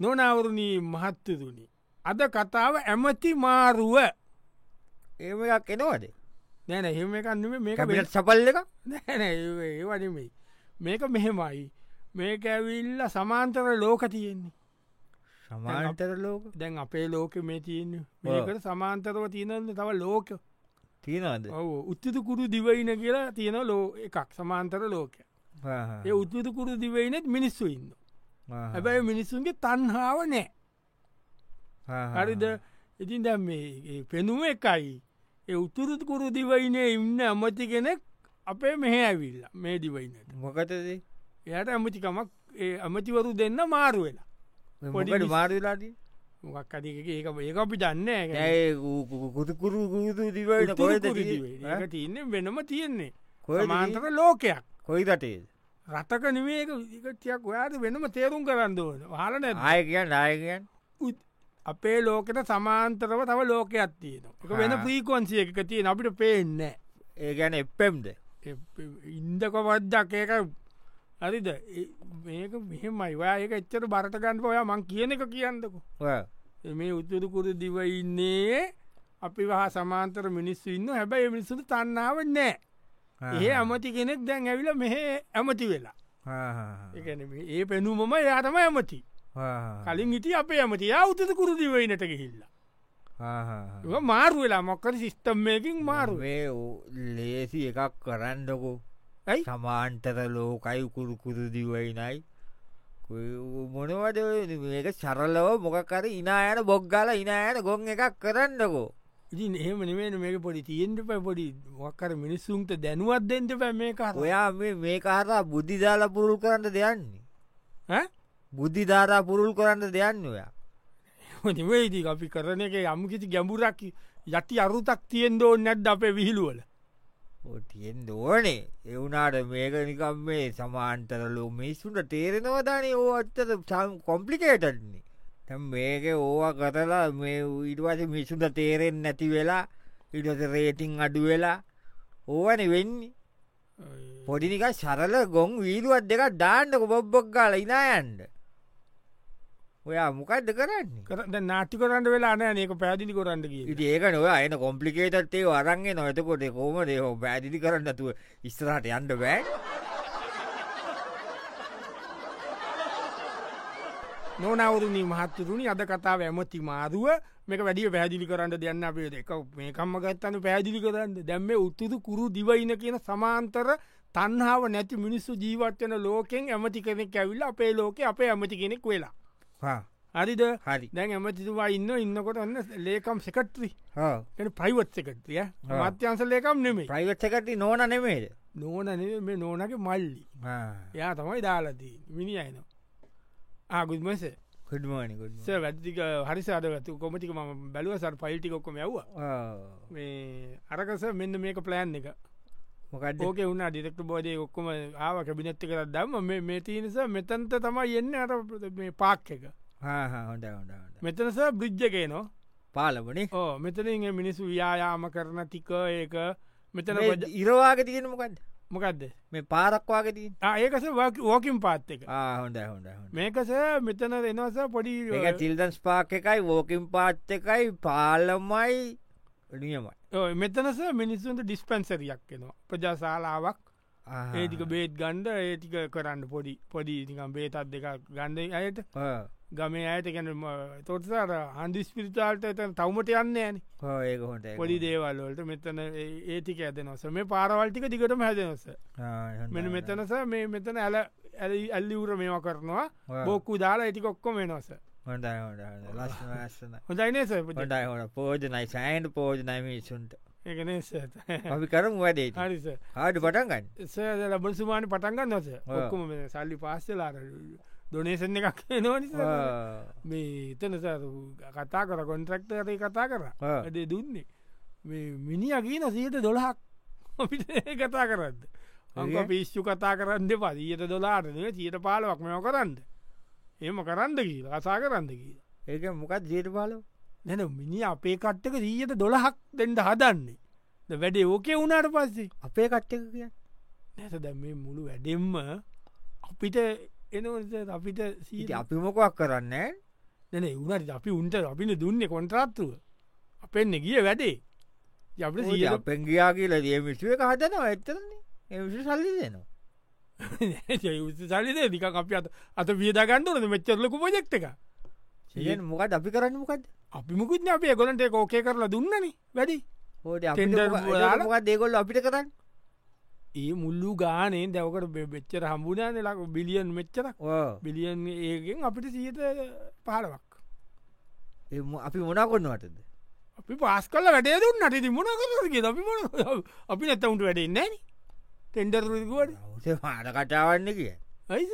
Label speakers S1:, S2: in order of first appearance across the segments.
S1: නොනවරුණී මහත්තතුනි. අද කතාව ඇමති මාරුව
S2: ඒමක් එනවද
S1: නැන එහෙම එකන්නම මේක වෙනස්.
S2: කැපිට සපල් එක
S1: ඒවනමයි මේක මෙහෙමයි මේක ඇවිල්ල සමාන්තර ලෝක තියෙන්නේ
S2: සමාන්තර ලෝක
S1: දැන් අපේ ලෝක මේ තියන්න මේකට සමාන්තරව තියෙනන්න තව ලෝක
S2: තියෙනවද
S1: උත්තිතු කුරු දිවයින කියලා තියෙන ලෝ එකක් සමාන්තර ලෝකය
S2: ආහා.
S1: ඒ උත්තිතු කුරු දිවයිනෙත් මිනිස්සු ඉන්න
S2: ආහා.
S1: හැබැයි මිනිස්සුන්ගේ තන්හාාව නෑ
S2: ආහා.
S1: හරිද ඉතින් දැම් මේ ඒ පෙනුම එකයි ඒ උතුරුත් කුරු දිවයිනේ ඉන්න අමති කෙනෙක් අපේ මෙහ ඇවිල්ල මේ දිවයිනට
S2: මොකටද
S1: එයට ඇමතිකමක් ඒ අමතිවරු දෙන්න මාරු වෙලා පොඩි
S2: මොකට
S1: මිස්-
S2: මාර්වෙලාදී
S1: මොකක් අදක ඒක ඒක අපි දන්න
S2: ඇයි කුතුකුරු ගුරුතු දිවට කොයද
S1: තියන්න වෙනම තියෙන්නේ සමාන්තක ලෝකයක්
S2: කොයි රටේද
S1: රටක නිවේක විකටයක් ඔයාද වෙනම තේරුම් කරන්න ඕන හලන
S2: ආය කියන්න ආයකයන්
S1: අපේ ලෝකෙට සමාන්තරව තව ලෝකයක් තියෙනවා එක වෙන
S2: ආ.
S1: ප්‍රීකොන්සිය එක තියෙන අපිට පේන්න
S2: ඒ ගැන එපෙම්ද
S1: ඉන්දකවද්දක් ඒක හරිද ඒ- මේක මෙහෙමයි ඔයා ඒක එච්චර බරටගන්න ඔයා මං කියන එක කියන්නකු මේ උතුරුකුරු දිව ඉන්නේ අපි වහ සමාන්තර මිනිස්සු ඉන්න හැබැයි මිනිසුට තන්නාව නෑ ඒ ඇමති කෙනෙක් දැන් ඇවිල මෙහ ඇමති වෙලා එකන ඒ පෙනුමම යාතම ඇමති කලින් ඉති අපේ ඇමති යා උතුකුරු දිවයිනට ගිහිල්ලා ඒවා මාරු වෙලා මොක්කර සිිස්ටම්මයකින් මාරු
S2: මේ ඕ- ලේසි එකක් කරන්නකෝ
S1: ඇයි?
S2: සමාන්තර ලෝකයි කුරුකුරු දිවයිනයි මොනවද ඔය මේක සරලව මොකකර ඉනායට බොග්ගල ඉනායට ගොන් එකක් කරන්නකෝ
S1: ඉතින් එහෙම නිවෙන මේක පොඩි තියෙන්ට පැ පොඩි මොක්කර මිනිස්සුන්ට දැනුවත් දෙෙන්ට පැ මේ කර
S2: ඔයා මේ- මේ කාරා බුද්ධිදාලා පුරුල් කරන්න දෙයන්නේ
S1: ඈ?
S2: බුද්ධිධාරා පුරුල් කරන්න දෙයන්න ඔයා
S1: නිවේදී අපි කරන එක යම්කිසි ගැඹුරක් යති අරුතක් තියෙන් දෝ නැඩ් අපේ විහිළුවල
S2: ඔය තියෙන්ද ඕනේ එවුනාට මේක නිකම් මේ සමාන්තරලෝ මිස්සුන්ට තේරෙනවදානේ ඕ අත්තර සම් කොම්පලිකේටන්නේ තැම් මේක ඕවා කරලා මේ ඉඩවස මිසුන්ට තේරෙන් නැති වෙලා ඉඩස රේටිං අඩු වෙලා ඕවන වෙන්නේ පොඩිනික සරල ගොන් වීරුවත් දෙක ඩාන්ඩක බොබ්බොක් ගාල ඉනායන්ඩ ඔයා මොකක්ද කරන්නේ
S1: කරද නාටි කරන්න වෙලා නෑ ඒක පැදිලි කොරන්න කිය
S2: ඉති ඒක නොව අයන කොම්පලිකේටත්තේ වරන්ගේ නොතකොට කෝමදේ හෝ බෑදිලි කරන්නතුව ඉස්රට යන්ඩ බෑ
S1: නොනවරුණී මහත්තරුණි අද කතාව ඇමති මාරුව මේක වැඩිය පැදිලි කරන්න දෙන්න අපේ දෙක මේකම්ම ගත්තන්න පැදිලි කරන්න දැම්ම උත්තුදු කුරු දිවයින කියන සමාන්තර තන්හාාව නැති මිනිස්සු ජීවත්වන ලෝකෙන් ඇමති කෙනෙක් ඇවිල්ල අපේ ලෝක අපේ ඇමති කෙනෙක් වෙලා
S2: හා.
S1: හරිද
S2: හරි
S1: දැන් ඇමතිතුවා ඉන්න ඉන්නකොට ඔන්න ලේකම් සෙකට්‍රි
S2: හා
S1: ප්‍රයිවට් සෙකට්‍රිය මත්‍යන්ස ලේකම් නෙමේ
S2: ප්‍රයිවට්සකට නෝන නෙමේද
S1: නෝන නෙමේ, මේ නෝනගේ මල්ලි එයා තමයි දාලදී මිනි අයන ආගුත්මස
S2: කුඩමනිකුඩ
S1: ස වැදදික හරිසාද ඇතු කොමතික ම බැලුව සර පයිල්ටිකොක්කොම ඇව මේ අරකස මෙන්න මේක පලෑන් එක
S2: මොකඩ
S1: ඕක වුණ ඩිෙක්ට බෝධය ඔක්කොම ආව කැබිනැත්ති කර දම්ම මේ තියනිස මෙතන්ත තමයි එන්න අර මේ පාක් එක
S2: හොඳ හොඳ හොඳ
S1: මෙතනස බ්‍රිජ්ජගේ නවා
S2: පාලබනේ
S1: ඕ මෙතනින් ඒ මිනිස්සු ව්‍යයාම කරන ටික ඒක මෙතන ගොඩ-
S2: ඉරවාග තියෙන මොකක්ද
S1: මොකක්ද
S2: මේ පාරක්වාග තියෙන
S1: ආ, ඒකස වෝකින් පාත් එක
S2: හොඳ හොඳ හොඳ
S1: මේකස මෙතන දෙනවස පොඩි
S2: එක තිල්දන්ස් පාක් එකයි වෝකින් පාත් එකයි පාලමයි නියමයි
S1: ඔය මෙතනස මිනිස්සුන්ට ඩිස්පැන්සරියක් එනවා ප්‍රජාශාලාවක්
S2: ආහ්.
S1: ඒටික බේත් ගණ්ඩ ඒටික කරන්න පොඩි පොඩි නිකම් බේතත් දෙක ගණ්ඩ අයට
S2: ආ.
S1: ගමේ අයට ගැන තොටසාර හන්දිස් පිරිතාල්ට එත තවමට යන්න ඇන
S2: ආ, ඒක හොඳ ඒක
S1: පොඩි දේවල්වලට මෙතන ඒටික ඇදනොස මේ පාරවල්ටික දිගටම හැදනොස
S2: හොඳ. ආ, හොඳ,
S1: මෙන
S2: හොඳ.
S1: මෙතනස මේ මෙතන ඇල ඇලි ඇල්ලිවර මේවා කරනවා
S2: ආ.
S1: බොක්කු දාලා ඇටි කොක්කොම වෙනස
S2: හොඳ හොඳ හොඳ. ලස්සන ලස්සන
S1: හොඳයිනේ
S2: හොඳයි හොඳ පෝජනයි සෑන්ට පෝජනයිමිසුන්ට
S1: ඒකනේ හරිස
S2: අපි කරම වැඩේ හාඩු පටන්ගන්න
S1: සද ලබන සුමාන පටන්ගන්න නොස
S2: ආ.
S1: ඔක්කොම මේ සල්ලි පාස්සලාර දොනේසන් එකක් නොනි මේ එතන ස කතා කර කොන්ට්‍රක්ට රේ කතා කර
S2: ආ.
S1: ඇදේ දුන්නේ මේ මිනි අගීන සියට දොළහක් අපිට ඒ කතා කරන්න අංක
S2: ඒ?
S1: පිස්සු කතා කරන්න පදීයට දොලාරනය චීට පාලවක් මෙෝ කරන්න එම කරන්න කියීල කසා කරන්න කියීල
S2: ඒක මොකත් ජීට පාලෝ
S1: නැන මිනි අපේ කට්ටක දීයට දොළහක් දෙන්ට හදන්නේ ද වැඩේ ඕකේ වුණට පස්සේ
S2: අපේ කට්ටක කිය
S1: නැස දැ මේ මුළු වැඩෙම්ම අපිට එන අපිට සීට
S2: ඉති අපි මොකක් කරන්න
S1: නැන වුණට අපි උන්ට අපින දුන්න කොන්ත්‍රාත්තුව අපෙන්න ගිය වැඩේ යපට
S2: ඌට
S1: සීල
S2: අපෙන් ගියා කියලා දිය මිසුව එක හදනවා ඇත්තරන්නේ එවිසු සල්ලි දෙනවා
S1: සලිද දික අපි අත අත වියදගන්නවන මෙච්චරලකු පොජෙක්් එක
S2: සියෙන් මොකද අපි කරන්න මොකද
S1: අපි මුකුත්න අප ගොලන්ට කෝකේ කරලා දුන්නන වැඩි
S2: හෝට
S1: Tender දාලා?
S2: මොකක් දෙකොල්ල අපිට කරන්න
S1: ඒ මුල්ලු ගානේ දැවකට බෙ- මෙච්චර හම්බුනාන ලක බිලියන් මෙච්චරක්
S2: ඕ.
S1: බිලියන් ඒකෙන් අපිට සියත පහලවක්
S2: ඒ මො- අපි මොනා කොන්නවටද
S1: අපි පස් කල වැඩේ දුන්න අටති මොනකරගේ අපි මොන අපි නැත්තවුන්ට වැඩෙන්නේ ටෙන්ඩර්රුවට
S2: ඔසේ මාන කටාවන්න කිය
S1: ඇයිද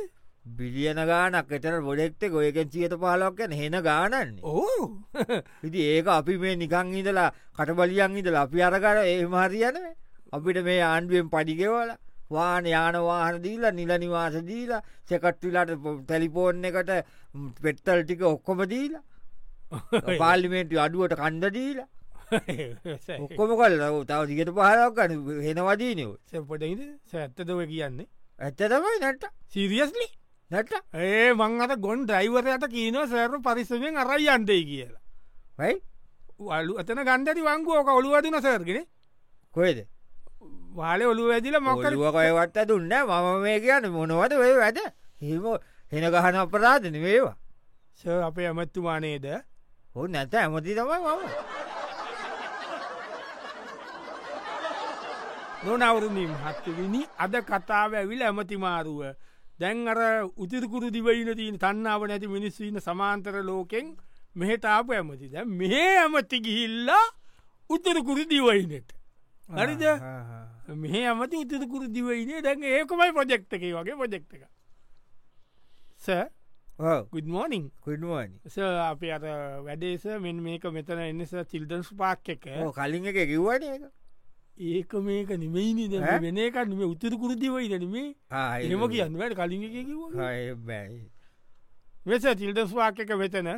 S2: බිලියන ගානක් එතන බොඩෙක්තෙක ඔයකෙන් සියත පහලක්කැන හෙන ගානන්නේ
S1: ඕ
S2: ඉති ඒක අපි මේ නිකං ඉදලා කටබලියන් ඉදල අපි අරකර ඒ මහරියන අපිට මේ ආණ්ඩුවෙන් පඩිගෙවල වාන යානවාහන දීලා නිල නිවාස දීලා සෙකට්විලාට තැලිපෝන් එකට ම්, පෙත්තල් ටික ඔක්කොම දීලා පාලිමේන්ටි අඩුවට කණ්ඩ දීලා ඔක්කොම කල් තව දිගට පහලක්කන හෙනවදීනව
S1: සැපටයිද සැත්තදව කියන්නේ
S2: ඇත්ත තමයි නැට
S1: සිරියස්ලි
S2: නැට
S1: ඒ මං අත ගොන් ඩයිවරයට කියන සෑරු පරිස්සමෙන් අරයි අන්ටේ කියලා
S2: වයි
S1: වලු අතන ගණ්ඩටි වංගුව ඕක ඔළුවදින සෑර්ගෙන
S2: කොේද
S1: වාල ඔලු ඇදිල මොකර
S2: මොකලුවකයවත්ත දුන්න මම මේ කියන්න මොනවද ඔය වැද හෙම හෙන ගහන අපරාධන වේවා
S1: ස අපේ ඇමැත්තුමානේද
S2: හො නැත ඇමති තමයි මම
S1: නොනවරුණින් හත්තවිනි අද කතාව ඇවිල ඇමතිමාරුව දැන් අර උතිරකුරු දිවයින තිීන් තන්නාව නැති මිනිස්වීන සමාන්තර ලෝකෙන් මෙහෙතාපු ඇමති දැ මේ ඇමති ගිහිල්ලා උත්තරකුරු දිවයිනෙට හරිද මේ ඇමති උතිරකුරු දිවයිනේ දැන් ඒකමයි ප්‍රජෙක්් එක වගේ ප්‍රජෙක්් එක ස ගුඩමෝනිින්
S2: කුඩුවනි
S1: ස අප අත වැඩේස මෙ මේක මෙතන එන්නස චිල්දන්ස් පාක් එක
S2: කලින් එක කිව්වන එක
S1: ඒක මේක නිමයිනිද
S2: ඈ?
S1: වෙන එකක් නෙමේ උත්තර දිවයිද නෙමේ එහෙම කියන්න වැඩ කලින් එක කිව්වා. වෙස චිල්දස් වාක්‍යක වෙතන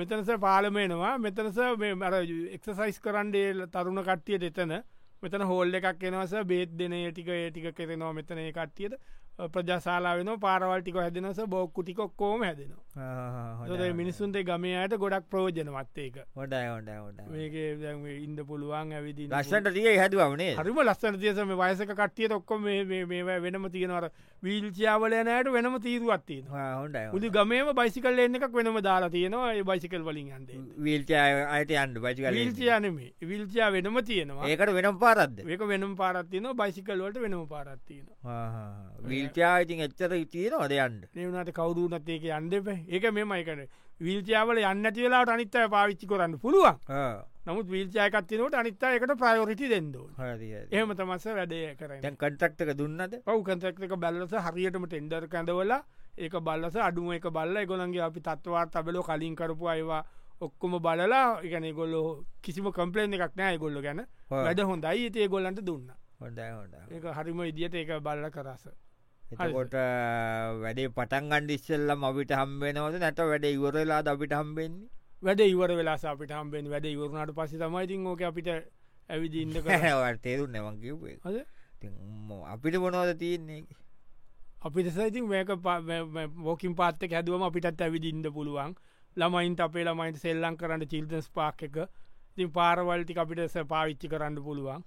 S1: මෙතනස පාලමේනවා මෙතනස මේ අර එක්සසයිස් කරන්ඩේල් තරුණ කට්ටියට එතන මෙතන හෝල් එකක් එනවස බේත් දෙන ටික ඒටික කෙරෙනවා මෙතන ඒ කට්ටියට අ, ප්‍රජාශාලා වෙන පාරවල්ටික හැදෙනස බෝක්කු ටිකොක් කෝම හැදෙනවා ො මිනිස්සුන්ට ගමයට ගොඩක් ප්‍රෝජනවත් ඒක
S2: හොඩයි හොඩ හොඩ
S1: මේක දැන් මේ ඉන්න පුළුවන් ඇවිදි
S2: ලස්සට තිය හැදුවනේ
S1: හරිම ලස්සන තියසම වයසක කට්ටිය ඔක්කොම මේ- මේ- මේවා වෙනම තියෙනවර වීල්චියාවල නෑට වෙනම තීරුවත්තියෙන
S2: හොඩයි
S1: පුදු ගමේම බයිසිකල් එන්න එකක් වෙනම දාලා තියෙනවා ඒ බයිසිකල් වලින් හන්ද
S2: විල්ච අයට අන්ඩු පචිකල
S1: විල්චයානමේ විල්චයා වෙනම තියෙනවා
S2: ඒකට වෙනම් පාරද්ද
S1: ඒක වෙනම් පාරත්තියන බයිසිකල් වලට වෙනම පාරත්තියන
S2: විල්චා ඉතින් එච්චර ඉතියෙන ඔද අන්ඩ
S1: නවනට කවුරුනත් ඒක අන්ඩප ඒක මෙම එකන විල්චයාවල යන්න තිවෙලාට අනිත්තය පාවිච්චි කරන්න පුළුවන් නමුත් විල්චයකත්තිනට අනිත්තා එකට ප්‍රයෝරිටි දෙෙන්දෝ
S2: හරි
S1: එහම තමස වැඩය කරන්න
S2: දැන් කටක්ටක දුන්නද
S1: පව් කන්තක්ක බැල්ලස හරියටම ටෙන්ඩර් කැඳවල ඒක බල්ලස අඩුම එක බල්ල ගොළන්ගේ අපි තත්වවා තබලෝ කලින් කරපු අයවා ඔක්කොම බලලා එකන ගොල්ලෝ කිසිම කම්පලේන් එකක් නෑ ගොල්ල ගැන
S2: හා.
S1: වැඩ හොඳයි ඒතේ ගොල්ලන්ට දුන්න
S2: හොඩයි හොඩා
S1: ඒක හරිම ඉදිට ඒක බල්ල කරස
S2: එතකොට වැඩේ පටන් අන්ඩිස්සල්ලම් අපිට හම්බෙනවද නැට වැඩ ඉවරලා අපිට හම්බෙන්නේ
S1: වැඩ ඉවර වෙලා අපිට හම්බෙන් වැඩ ඉවරුණට පසි තමයිතින් ඕක අපිට ඇවිදින්න කර
S2: තේරු නැවන් කිව්වේ
S1: හද
S2: ඉතින් ම- අපිට මොනවද තියන්නේ
S1: අපිට සයිතින් මේක බෝකින් පාත්තක හැදුවම අපිටත් ඇවිදින්න පුළුවන් ළමයින්ට අපේ ළමයින්ට සෙල්ලං කරන්න චිල්දස් පාක් එක තින් පාරවල්ටි අපිට ස පාවිච්චි කරන්න පුළුවන්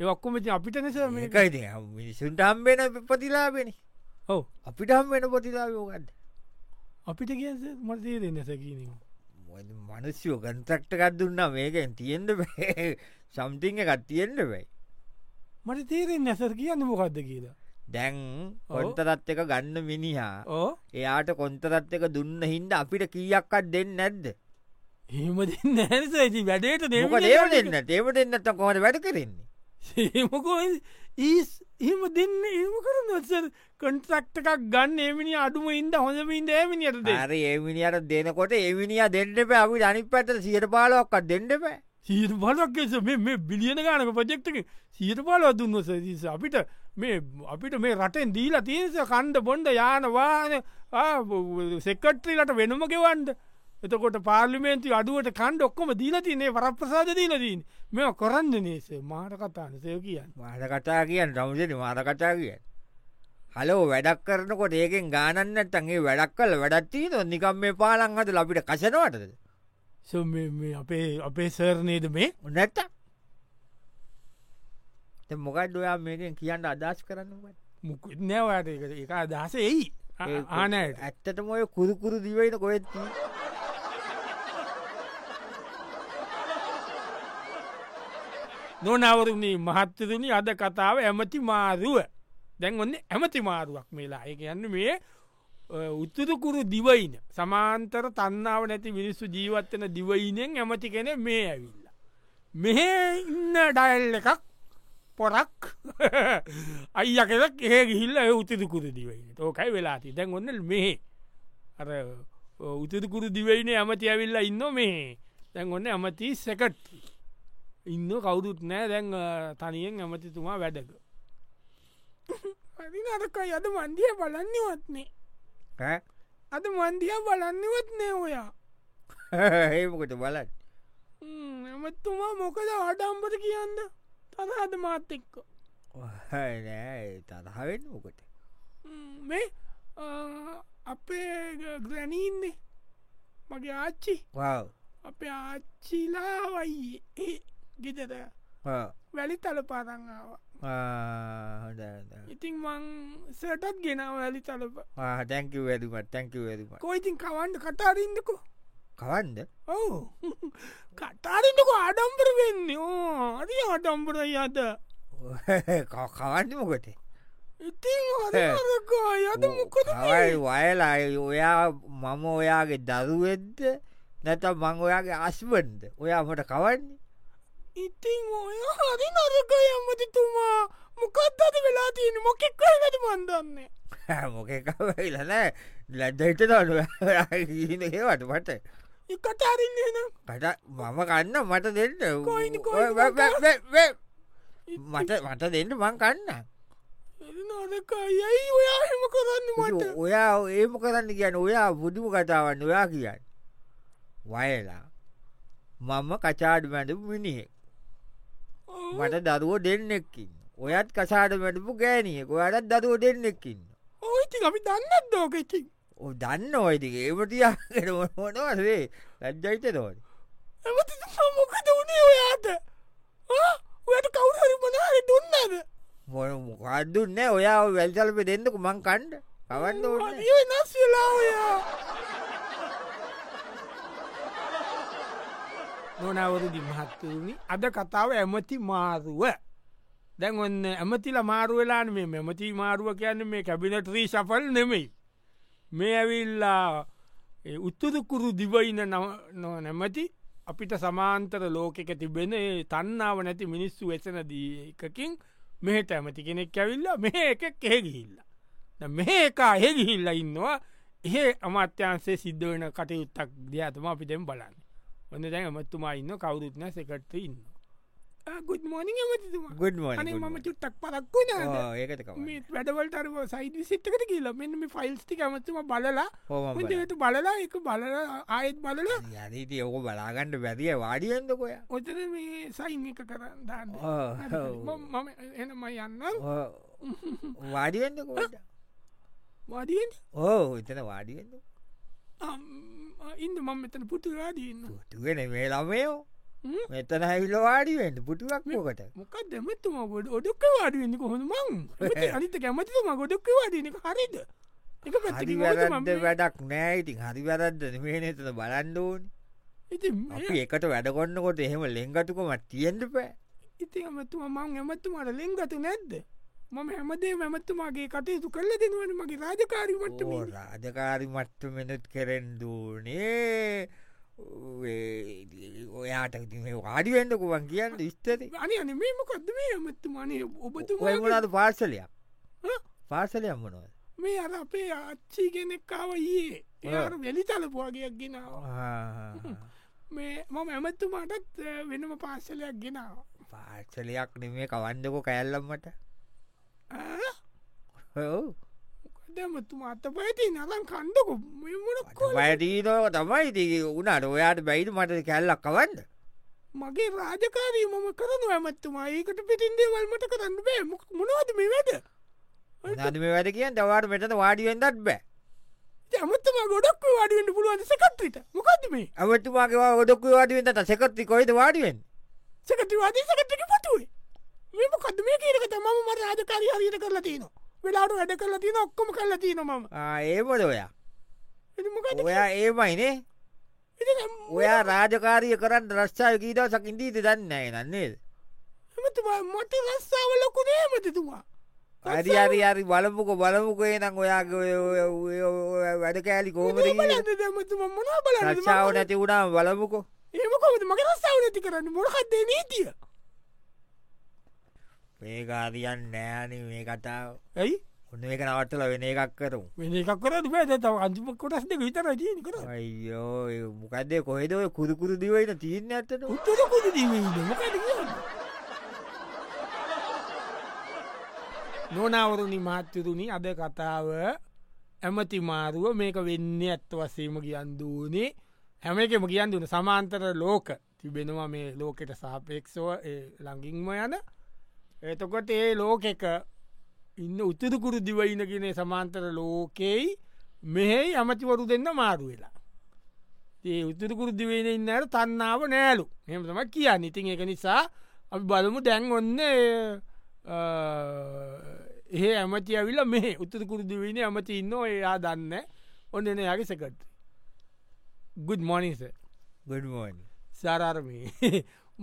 S1: ඒක්කොම අපිට නිස
S2: මේකයිති මිනිසුන්ට හම්බෙන ප්‍රතිලාබෙන
S1: ඔව
S2: අපිට හම්බෙන ප්‍රතිලාබෝකන්ද
S1: අපිට කිය මතේ දෙන්න සැකීම
S2: මනුස්යෝ කන්තක්ටකත් දුන්න මේකෙන් තියෙන්ට සම්තිං එකත් තියෙන්ට බයි
S1: මට තේරෙන් නැසර කියන්න මොකක්ද කියලා
S2: දැන්
S1: ඔව්.
S2: කොන්තරත් එක ගන්න මිනිහා
S1: ඕ
S2: එයාට කොන්තරත් එක දුන්න හින්ද අපිට කීයක්කත් දෙන්න නැද්ද
S1: හෙම දෙන්න ඇසයි වැඩේට
S2: ඒක ඒව දෙන්න ඒව දෙන්නත්ත කොහට වැඩ කරෙන්නේ
S1: සේමකෝ ඊස් එහෙම දෙන්න ඒම කරන සර් කන්ට්‍රක්ට එකක් ගන්න එමිනි අඩුම ඉන්ද හොඳමින්ද ඇමිනියට දෙ
S2: අර ඒමිනිියට දෙනකොට ඒවිනිිය දෙන්නප අපි අනි පැතට සියට පාලොක්කත් දෙන්නපෑ
S1: සීට පලක්කෙස මේ බිලියන ගානක ප්‍රජෙක්්ක සීට පල දුන්න සදස අපිට මේ අපිට මේ රටෙන් දීලා තියස කණ්ඩ බොන්ඩ යානවාන සෙක්කට්‍රීලට වෙනම ගෙවන්ඩ එතකොට පාර්ලිමේන්තු අඩුවට කණ්ඩ ඔක්කොම දීලතිනේ වරප්‍රසාද දීලදීන් මෙ කොරන්ද නේසේ මාට කතාන සය කියන්න
S2: මාර කටා කියන්න රමුසෙන මාර කටා කියන්න හලෝ වැඩක් කරනකොට ඒකෙන් ගානන්නටන්ගේ වැඩක් කල වැඩත්තිී නො නිකම් මේ පාලන් හද ලබිට කසනවටද
S1: සො මේ- මේ අපේ අපේ සර්නේද මේ
S2: නැත්ත මොකක් ඔයා මේකෙන් කියන්න අදශ කරන්නට
S1: මුකුත් නෑවාට එක අදහස එයි ආනයට
S2: ඇත්තටම ඔය කුරුකුරු දිවයින කොත්
S1: නොනවරුණී මහත්තතුනි අද කතාව ඇමති මාරුව දැන් ඔන්න ඇමති මාරුවක් මේලා ඒ යන්න මේ උත්තුරකුරු දිවයින සමාන්තර තන්නාව නැති මිනිස්සු ජීවත්වන දිවයිනෙන් ඇමති කෙන මේ ඇවිල්ල. මෙහෙ ඉන්න ඩයිල් එකක් පොරක් අයි අකෙක් ඒ ගිල්ල උතුරකුරු දිවයින ඕකයි වෙලාති දැන් ඔන්න මෙහෙ අර උතුරකුරු දිවයින ඇමති ඇවිල්ලා ඉන්න මේ දැන් ඔන්න ඇමති සැකට් ඉන්න කවුරුත් නෑ දැන් අ, තනියෙන් ඇමතිතුමා වැඩක අදකයි අද මන්දිය බලන්නවත්නේ අද මන්දිය බලන්නවත් නෑ ඔයා
S2: ඒමකොට බලන්න
S1: ම්ම්, ඇමතිතුමා මොකද අඩම්බට කියන්න තනහද මාත් එක්ක
S2: නෑ තරහවෙන්න මොකට
S1: ම්ම්, මේ අ, අපේ ග- ග්‍රැනීන්නේ මගේ ආච්චි අපේ ආච්චිලා වයි ඒ ගෙදර වැලි තල පාරංාව
S2: හොඳ
S1: ඉතින් මං සටත් ගෙනාව වැලි තලප
S2: තැංක වැදුමත් තැංක වැදුම
S1: කොයිතින් කවන්ඩ කතාරින්දකු
S2: කවන්ද
S1: ඔව කතාරින්ටක ආඩම්පර වෙන්න ඕ අරි ආඩම්පරයි අද
S2: කවන්න මොකටේ
S1: ඉතින්
S2: ඈ.
S1: අරකා යද මොකද
S2: හවයි වයලායි ඔයා මම ඔයාගේ දරුවෙද්ද නැත මං ඔයාගේ අස්බන්ද ඔයා මට කවන්නේ
S1: ඉතින් ඔය හරි නරකය ඇමතිතුමා මොකත් අද වෙලා තියෙන මොකෙක්වලට මන්දන්නේ
S2: මොකකවයිලනෑ ලැඩ්ඩට දඩ ඒවට මට
S1: එකට අරින්නේ නම්
S2: කට මම කන්න මට දෙන්න
S1: කොයිනි,
S2: ඔය
S1: කොයිනි,
S2: වැ- වැ- වැ- වැ-
S1: ඉතින්
S2: මට මට දෙන්න මං කන්න
S1: හරි නරකයි ඇයි ඔයා හෙම කරන්න මට
S2: ඔයා ඒම කරන්න කියන්න ඔයා බුදුම කතාවන්න ඔයා කියන්න වයලා මම කචාඩ මැඩ මිනිහෙක්
S1: ඔව්.
S2: මට දරුව දෙන්නෙක්කින් ඔයත් කසාට වැටපු ගෑනියෙක් ඔයටත් දරුව දෙන්නෙක්කින්න
S1: ඔය ඉතින් අපි දන්නත් දෝකෙකින්
S2: ඕ දන්න ඔයිති ඒමටියා මොනවසේ ලැජ්ජයිත දෝට
S1: ඇමතිතුමා මොකද උනේ ඔයාට ආ? ඔයාට කවුරහරි මනාහරි දුන්නද
S2: මොන මොකක්දුන්න ඔයා වැල්සල්ප දෙන්නක මං කණ්ඩ කවන්න ඕන
S1: ඒ නස් වෙලා ඔයා නොනවරුදි මහත්තරුණි අද කතාව ඇමති මාරුව දැන් ඔන්න ඇමතිල මාරුවෙලාන මේ මෙමති මාරුව කියන්න මේ කැබිනට්‍රී සපල් නෙමෙයි මේ ඇවිල්ලා උත්තුදුකුරු දිවයින නො නැමති අපිට සමාන්තර ලෝකෙක තිබෙන ඒ තන්නාව නැති මිනිස්සු වෙසන දී එකකින් මෙහට ඇමති කෙනෙක් ඇවිල්ලා මෙහ එක කෙහෙගිහිල්ලා දැන් මෙහෙ එක හෙගිහිල්ලා ඉන්නවා එහෙ අමාත්‍යන්සේ සිද්ධ වෙන කටයුත්තක් දයාතම අපි දෙම් බලන්න ඔන්න දැන් ඇමතුමා ඉන්න කවුරුත්න සෙකට ඉන්න ගුත් මෝනි ඇමතිතුමා
S2: ගුඩ
S1: අනේ මම චුට්ටක් පලක් වුණා
S2: ඒකට
S1: මේ වැඩවලටරව සයිඩි සිට්කට කියලා මෙන්න මේ ෆයිල්ස්ටි ඇමතුම බලලා
S2: හෝම
S1: හොඳට බලලා එක බලල ආයෙත් බලල
S2: යනීති ඔක බලාගණ්ඩ බැදිය වාඩියෙන්දකොයා
S1: ඔතන මේ සයින් එක කරන්න දාන්න මම එනම යන්න
S2: වාඩියෙන්දකොට
S1: වඩියෙන්
S2: ඕ එතන වාඩියෙන්ද
S1: ඉන්ද මම මෙතන පුතුරාදන්න
S2: පුටුගෙන මේ ළමයෝ මෙතන ඇවිල වාඩිවෙන්ට පුටුවක් මෝකට
S1: මොකක් දෙමත්තුම ගොඩ ඔඩොක්ක වාඩුවෙන්න කොහොඳ මං අනිත කැමතිතුම ගොඩොක්ක වාඩන එක හරිද එක
S2: හරි වැරද්ද වැඩක් නෑ ඉතින් හරි වැරද්ද මේ නතන බලන්ඩෝන් අපි එකට වැඩගොන්නකොට එහෙම ලෙංගටකුම තියෙන්ට පෑ
S1: ඉති ඇමතුම මං ඇමතුමාට ලෙංගතු නැද්ද මම හැමදේ මැමත්තුමාගේ කටයුතු කල්ල දෙනවන මගේ රාජකාරීමට
S2: ඕ, රාජකාරි මට්ට මෙනත් කරෙන්දූනේ ඔයාට ඉතින් මේ වාඩිවෙන්ඩකුවන් කියන්න ස්තති
S1: අනි අන මේ මොකක්ද මේ ඇමත්තුමානේ ඔබතුමා
S2: ඔයමලාද පාර්සලයක්
S1: හ්ම්?
S2: පාර්සලයක් මොනවද
S1: මේ අර අපේ අච්චි කෙනෙක්කාව යේ එයාර වෙලි තලපුවාගයක් ගෙනාව මේ මම ඇමත්තුමාටත් අ, වෙනම පාසලයක් ගෙනාව
S2: පාර්සලයක් නෙමේ කවන්ඩකෝ කෑල්ලම්මට ඔව්
S1: දැමතුම අත පයති නලන් කණ්ඩකු මෙමනක්
S2: වැටීනෝ තමයි ඉති උනාට ඔයාට බැයිට මට කැල්ලක් කවන්න
S1: මගේ රාජකාරී මම කරන ඇමත්තුමා ඒකට පිටින්දේ වල්මට කරන්න බෑ මොක- මොනවද මේ වැඩ
S2: නද මේ වැඩ කියන් තවාට මෙටට වාඩිුවෙන්දත් බෑ
S1: ඇමත්තම ගොඩක් වඩුවෙන්ට පුළුවන් සකට්‍රිට මොකද මේ
S2: ඇමතුමාගේ ොඩක් වාඩිුවෙන්ට සෙකත්ති කොයිද වාඩිුවෙන්
S1: සකටවාදී සකට්ටක පටුවේ මෙම කද මේ කියනක තම මට රාජකාරී හරියට කරලා තියන වෙලාට වැඩ කරලා තියන ඔක්කොම කරලා තියන මම
S2: ඒමද ඔයා ඔයා ඒමයිනේ ඔයා රාජකාරය කරන්න රශ්චාය කීටවසක් ඉදීද දන්නෑ නන්නේද
S1: එමතුවා මට රස්සාාව ලොකුනේ මතිතුවා
S2: අරි අරි අරි බලපුක බලමුකේ නම් ඔයාගේ ඔය- ඔය- ඔය වැඩ කෑලි කෝමර
S1: මතුම මොන බල
S2: රක්ෂාව නැති වුණාම බලමුකෝ
S1: ඒමකොමද මගේ රස්සාාව නැති කරන්න මොරහත්දේ නීතිය
S2: මේකාරියන් නෑන මේ කතාව
S1: ඇයි
S2: ඔන්න එක නවත්තල වෙන එකක් කරු
S1: වෙන එකක් කර බෑ තව අන්තිම කොටස් දෙක විතර ජීන කර
S2: අයියෝ ඒ මොකක්දේ කොහෙද ඔය කුරුකුරු දිවයින තිීන්න ඇත්තට
S1: උත්තර කොද දීමද මොකද කියන්න නොනවරුණි මහත්තතුනි අද කතාව ඇමති මාරුව මේක වෙන්න ඇත්ත වසේම කියන්දූනේ හැම එකම කියන් දුන සමාන්තර ලෝක තිබෙනවා මේ ලෝකෙට සාපේක්ෂව ඒ ලඟින්ම යන එතකොට ඒ ලෝකෙක ඉන්න උත්තුරුකුරු දිවයිනගෙන සමාන්තර ලෝකෙයි මෙහෙයි අමතිවරු දෙන්න මාරු වෙලා ඒ උත්තුරකුරු දිවෙන ඉන්න අයට තන්නාව නෑලු හෙම තම කියන්න ඉතින් එක නිසා අපි බලමු දැන් ඔන්න එහ ඇමති ඇවිල මේ උත්තුරකුරු දිවෙන ඇමති ඉන්න එයා දන්න ඔන්න එන යාගේ සකට ගුඩ් මොනිස
S2: ගඩුවන්
S1: සාරාර්මී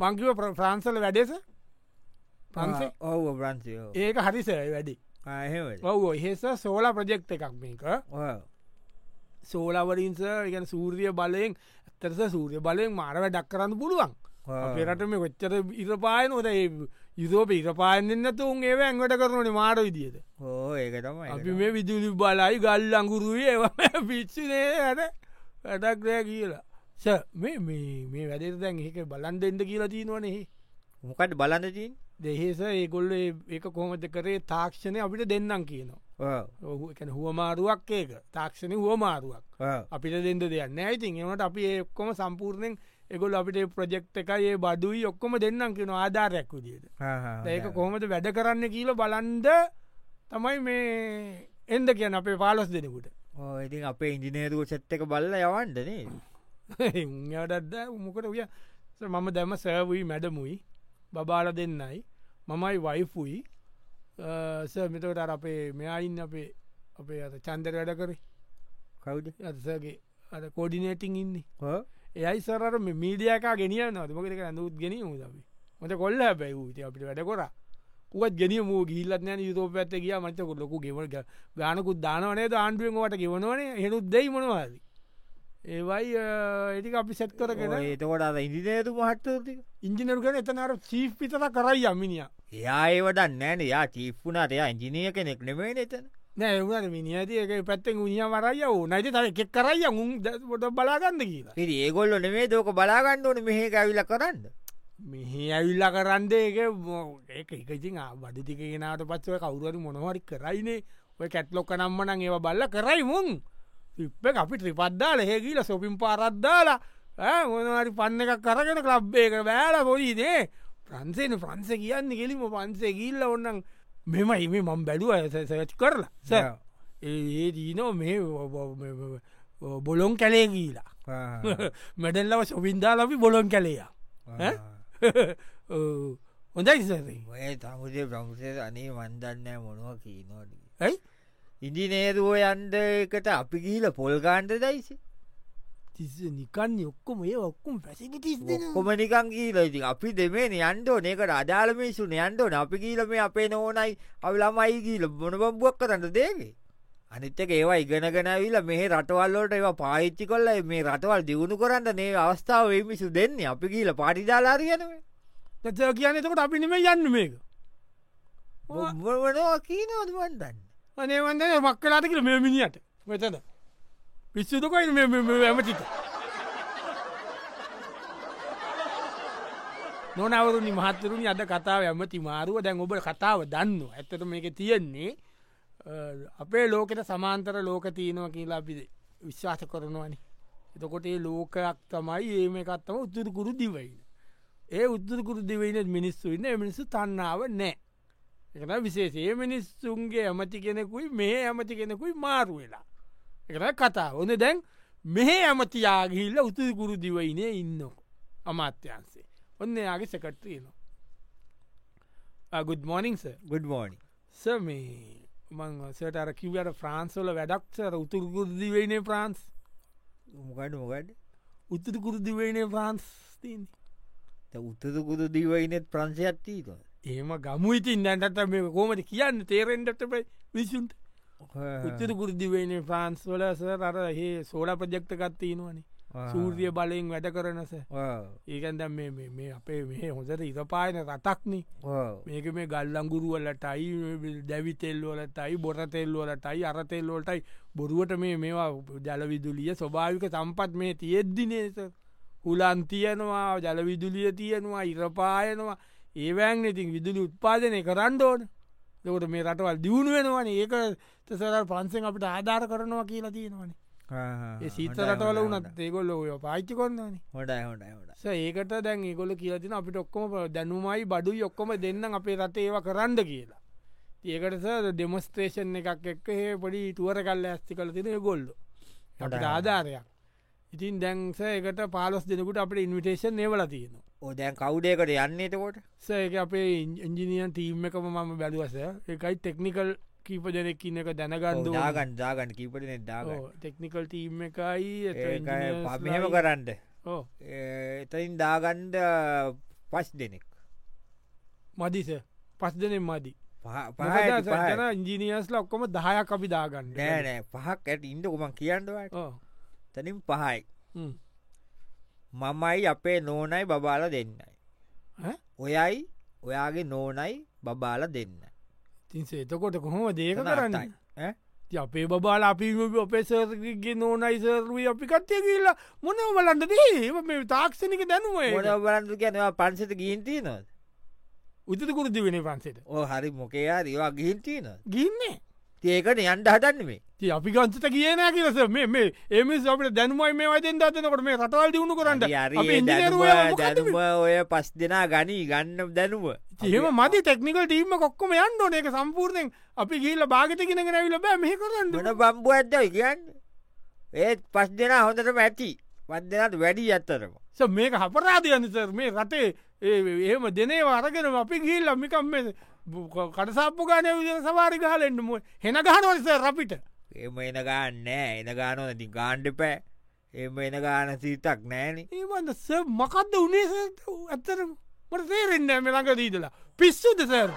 S1: මංකිව ප්‍රාන්සල වැඩෙස පන්සේ
S2: ඔව ප්‍රන්සියෝ
S1: ඒක හරිස වැඩි
S2: Ah, ආහෙම
S1: ඔවෝ හෙස සෝලා ප්‍රජෙක්් එකක් මේක සෝලවරින්ස ගැන සූර්ය බලයෙන් ඇතරස සූර්ය බලයෙන් මාර වැඩක් කරන්න පුළුවන් පෙරට මේ වෙච්චර ඉරපායන ොද යුරෝප ඉරපායන්නත් උන් ඒ ඇංගට කරනන මාර විදිියද
S2: ඕ Oh, ඒක තමයි ඒක
S1: අපි මේ විදුලි බලයි ගල් අඟුරුවේ ඒවා පිච්චිනේ ඇන වැඩක්රෑ කියලා ස මේ මේ- මේ වැඩේ දැන් ඒක බලන් දෙෙන්ඩ කියලා තිීනවනෙහි
S2: තමයි. මොකටද බලන්න තින්
S1: දෙහෙස ඒගොල්ල ඒක කොහොමද කරේ තාක්ෂණය අපිට දෙන්නම් කියනවා ඔහු එකන හුවමාරුවක් ඒක තාක්ෂණය හුවමාරුවක් අපිට දෙද දෙන්න ඇතින් එමට අපි ඒ ඔක්කොම සම්පූර්ණයෙන් එකොල් අපිට ප්‍රජෙක්් එකයි ඒ බඩුයි ඔක්කොම දෙන්නම් කියෙන ආධාරයක් විදියට ඒක කොහොමද වැඩ කරන්න කියල බලන්ද තමයි මේ එන්ද කියන අපේ පාලොස් දෙනෙකුට
S2: Oh, ඉතින් අපේ ඉංජිනේරුව සැත්තක බල්ල යවන්ඩනේ
S1: උඩත්ද මොකට විය මම දැම සෑවයි මැඩමුයි බබාල දෙන්නයි මමයි වයිෆුයි මෙතකට අර අපේ මෙයායින් අපේ අපේ අත චන්දර වැඩ කරේ
S2: කවුද
S1: ඇසගේ අ කෝඩිනේටිං ඉන්නේ එයයි සරර මීඩියක ගෙනිය නොතමකට ඇඳුත් ගෙන දම මට කොල්ල හැබැයි ූති අපිට වැඩ කොර උත් ගෙන මූ ගිල්ලත්න යුතෝප ඇත කිය මතක ලොකු ගෙවල්ග ගානකුත් දානවනේ ආණ්ඩුවෙන්ට ගෙවනවනේ හෙනුත් දෙයි මොනවාද ඒවයි එටි අපි සැත්
S2: oh,
S1: කරගෙන
S2: ඒතකොට අද ඉදිනේතු මහත්තතික
S1: ඉංජිනරු කර එතනර චීප් පිතර කරයි අමිනිිය
S2: එයා ඒවට නෑන යා චිප්පුුණට එයා ඉංජිනය කෙනෙක් නෙමේ එතන
S1: නෑ එවුණට මිනිියති එක පැත්තෙන් උනිිය වරයි ඕ නයිති තර එකෙක් කරයි උන් ොට බලාගන්න කියලා
S2: ඉරි ඒගොල්ල නෙමේ දෝක බලාගන්න ඕන මෙහෙ ඇවිල කරන්න
S1: මෙහි ඇවිල්ල කරන්දේක ඒක එකසින් බඩිතිකෙනට පත්ව කවුරුවරු මොනවරි කරයිනේ ඔය කැට්ලොක නම්මනං ඒව බල්ල කරයි මුන් ඉප්ප අපි ත්‍රිපද්දාල හෙකිල සොපින් පාරද්දාලා ඈ මොනවරි පන්න එකක් කරගෙන ලබ්බේක බෑල පොලීනේ ප්‍රන්සේන ප්‍රන්ස කියන්න කෙලිම පන්සේ ගිල්ල ඔන්නන් මෙම ඉම මම් බැලුව සච් කරලා සෑ ඒ දීනෝ මේ ඔ- ඔ- ඔ- ඔ- බොලොන් කැලේ ගීලා මැඩල්ලව සොවින්දා ලබි බොලොන් කැලේයා ඈ? ඔව්. හොඳයි සරී
S2: ඔය තමුසේ ප්‍රංසේ අනේ වන්දන්නෑ මොනුව කීනෝට
S1: ඇයි
S2: ඉදිනේරුව යන්ද එකට අපි ගිහිල පොල්ගාන්ට දයිසි
S1: තිස්ස නිකන් ඔක්කොම ඒ ඔක්කුම් පැසිටිස් දෙන
S2: කොමනිකං ගීලති අපි දෙමේ යන්ඩෝ නකට අඩාලමිසු යන්ඩෝ අපි ගීලම අපේ නෝනයි අවි ළමයි ගීල බොනබම්බුවක් කරන්න දේවේ අනිත්තක ඒවා ඉගෙනගෙනවිල මේ රටවල්ලෝට ඒවා පාච්චි කොල්ල මේ රටවල් දියුණු කරන්න නේ අවස්ථාව මිසු දෙන්නේ අපි ගීල පාටිදාලාරයනවේ
S1: තව කියන්නතකට අපි නෙම යන්න මේක ඔව්.
S2: මොවනවා කීනෝද වන්දන්න
S1: අනේවන්ද මක් කලාට කියල මෙ මිනිියට මෙතන පිස්සුතකයි ඇමටික නොනවරුනි මහත්තරුණි අද කතාව ඇමති මාරුව දැන් ඔබ කතාව දන්න ඇත්තට මේක තියෙන්නේ අ, අපේ ලෝකෙට සමාන්තර ලෝක තියනව කියලා අපි විශ්වාස කරනවනි එතකොට ඒ ලෝකයක් තමයි ඒ මේ කත්තම උත්තුරකුරු දිවයින ඒ උත්තුරකුරු දිවයින මිනිස්සු ඉන්න ඒ මිනිස්සු තන්නාව නෑ එකන විශේෂයේ මිනිස්සුන්ගේ ඇමති කෙනෙකුයි මේ ඇමති කෙනෙකුයි මාරු වෙලා එකන කතා ඕන දැන් මෙහෙ ඇමතියාගිහිල්ල උතුකුරු දිවයිනේ ඉන්නක අමාත්‍යන්සේ ඔන්න එයාගේ Uh, සකට්ටයනවා ගුඩ් මෝනිින්ස
S2: ගුඩ්මෝනි
S1: ස මේ මංසට අර කිවට ෆ්‍රාන්සෝල වැඩක්සර උතුරකුරදිවයිනේ ප්‍රාන්ස්
S2: මොකට මොකට
S1: උත්තුරකුරදිවයිනේ ප්‍රාන්ස් තින්
S2: උත්තකුරු දීවයිනෙත් ප්‍රංශයක්ත්තීක
S1: ඒම ගමුයිතින් දැන්ටත් මේ කෝමට කියන්න තේරෙන්ටට පයි විසුන්ට උත්තුරකුරදිවයිනේ ෆ්‍රාන්ස් වල සර් අර ඒ සෝඩ ප්‍රජෙක්්ටකත්තිීනවනේ සූර්ය බලයෙන් වැඩ කරනස ඒකන්ද මේ මේ- මේ අපේ මේ හොඳට ඉරපායන රටක්නේ මේක මේ ගල්ලංගුරුවලටයි දැවිතෙල්ලෝලටයි බොරතෙල්ලෝලටයි අරතෙල්ලෝලටයි බොරුවට මේ මේවා ජලවිදුලිය ස්වභාවික සම්පත් මේ තියෙද්දිනේස හුලන් තියනවා ජලවිදුලිය තියෙනවා ඉරපායනවා ඒවෑන් ඉතින් විදුලි උත්පාදනය කරන්න ඕන ලකට මේ රටවල් දියුණු වෙනවන ඒක තසර පන්සෙන් අපට ආධාර කරනවා කියලා තියෙනවනේ ඒ සීත රටවල වනත් ඒකොල්ල ඔය පාච්චි කොන්නනේ
S2: හොඩයි හොඩයි හොඩ
S1: ස ඒකට දැන් ඒගොල කියතින අපිට ඔක්කොම දැනුමයි බඩු යොක්කොම දෙන්න අපේ රට ඒව කරන්න කියලා ඒකට ඩෙමස්ත්‍රේෂන් එකක් එක්ක ඒ පොඩි තුවර කල්ල ඇස්ති කල තින ගොල්ල අපට ආධාරයක් ඉතින් දැන්ස එකට පාලොස් දෙනකුට අපට ඉන්විටේෂන් නේවල තියෙනවා
S2: ඕදැන් කවුඩයකට යන්නේතකොට
S1: සඒක අපේ ඉංජිනියන් ටීම් එකම මම බැලුවස එකයි ටෙක්නිකල් කීප දෙනෙක් ඉන්න එක දැනගන්ද
S2: දාගන් දාගන්න කීපටන දාගන්න
S1: ටෙක්නිකල් ටීම් එකයි
S2: පමහෙම කරන්න එතයින් දාගන්ඩ පස් දෙනෙක්
S1: මදිස පස් දෙනෙන් මදි
S2: පහ- පහ ඇති, පහ
S1: පහන
S2: ඇති.
S1: ඉංජිනියස් ලොක්කොම දහයක් අපි දාගන්න
S2: නෑ නෑ පහක් ඇට ඉන්ඩ කුමන් කියන්නවට
S1: ඕ.
S2: තනින් පහයි
S1: හ්ම්.
S2: මමයි අපේ නෝනයි බබාල දෙන්නයි
S1: ඈ?
S2: ඔයයි ඔයාගේ නෝනයි බබාල දෙන්න
S1: තින් සේතකොට කොහොම දේක
S2: තන
S1: කරන්න
S2: අටයි. ඈ?
S1: ඉතින් අපේ බබාල අපි ඔපේසර්ගේ නෝනයිසරුවී අපි කත්ය කියලා මොන බලන්නද මේ තාක්ෂණක
S2: මොන
S1: දැනුවේ
S2: බලන්දු කියනවා පන්සත ගිහින්තිී නොද
S1: උතකුරදි වෙන පන්සේට
S2: ඕ හරි මොකයා දවා ගිහින්තිී නොද
S1: ගින්නේ
S2: ඒකට යන්ඩ හටන්න මේ
S1: ති අපි ගංචත කියන කියලස මේ මේ එමස් අපට දැනුවයි මේ වදෙන් දතනකොට මේ රටවල් දියුණු කරන්න අපේ ඉංජිනේරුවෝ මොකද මේ?
S2: දැනුම ඔය පස් දෙනා ගනී ගන්න දැනුව
S1: එහෙම මදි ටෙක්නිකල් ටීම කොක්කොම යන්න ඕනඒක සම්පූර්ණයෙන් අපි ගීල භාගතකිනගෙන ඇවිල බෑ මේ කරන්න
S2: මොන බම්බු ඇත්දයි කියන්න ඒත් පස් දෙනා හොඳටම ඇති පත් දෙනට වැඩි ඇත්තරම
S1: ස මේක හපරාධයනිසර් මේ රටේ ඒ එහෙම දෙනේ අරගෙන අපි ගිල් අමිකම් මේ කටසාප්පු ගානය විදන සවාරි ගහලෙන්න්න මුව හෙන ගහනවලස රපිට
S2: එම එන ගාන්න නෑ එන ගානෝ නැති ගාණ්ඩ පෑ එම එන ගාන සීතක් නෑන
S1: ඒවන්ද ස මකක්ද උනේ ඇත්තර මට තේරෙන්න්න මෙළඟ දීදලා පිස්සු දෙසර්.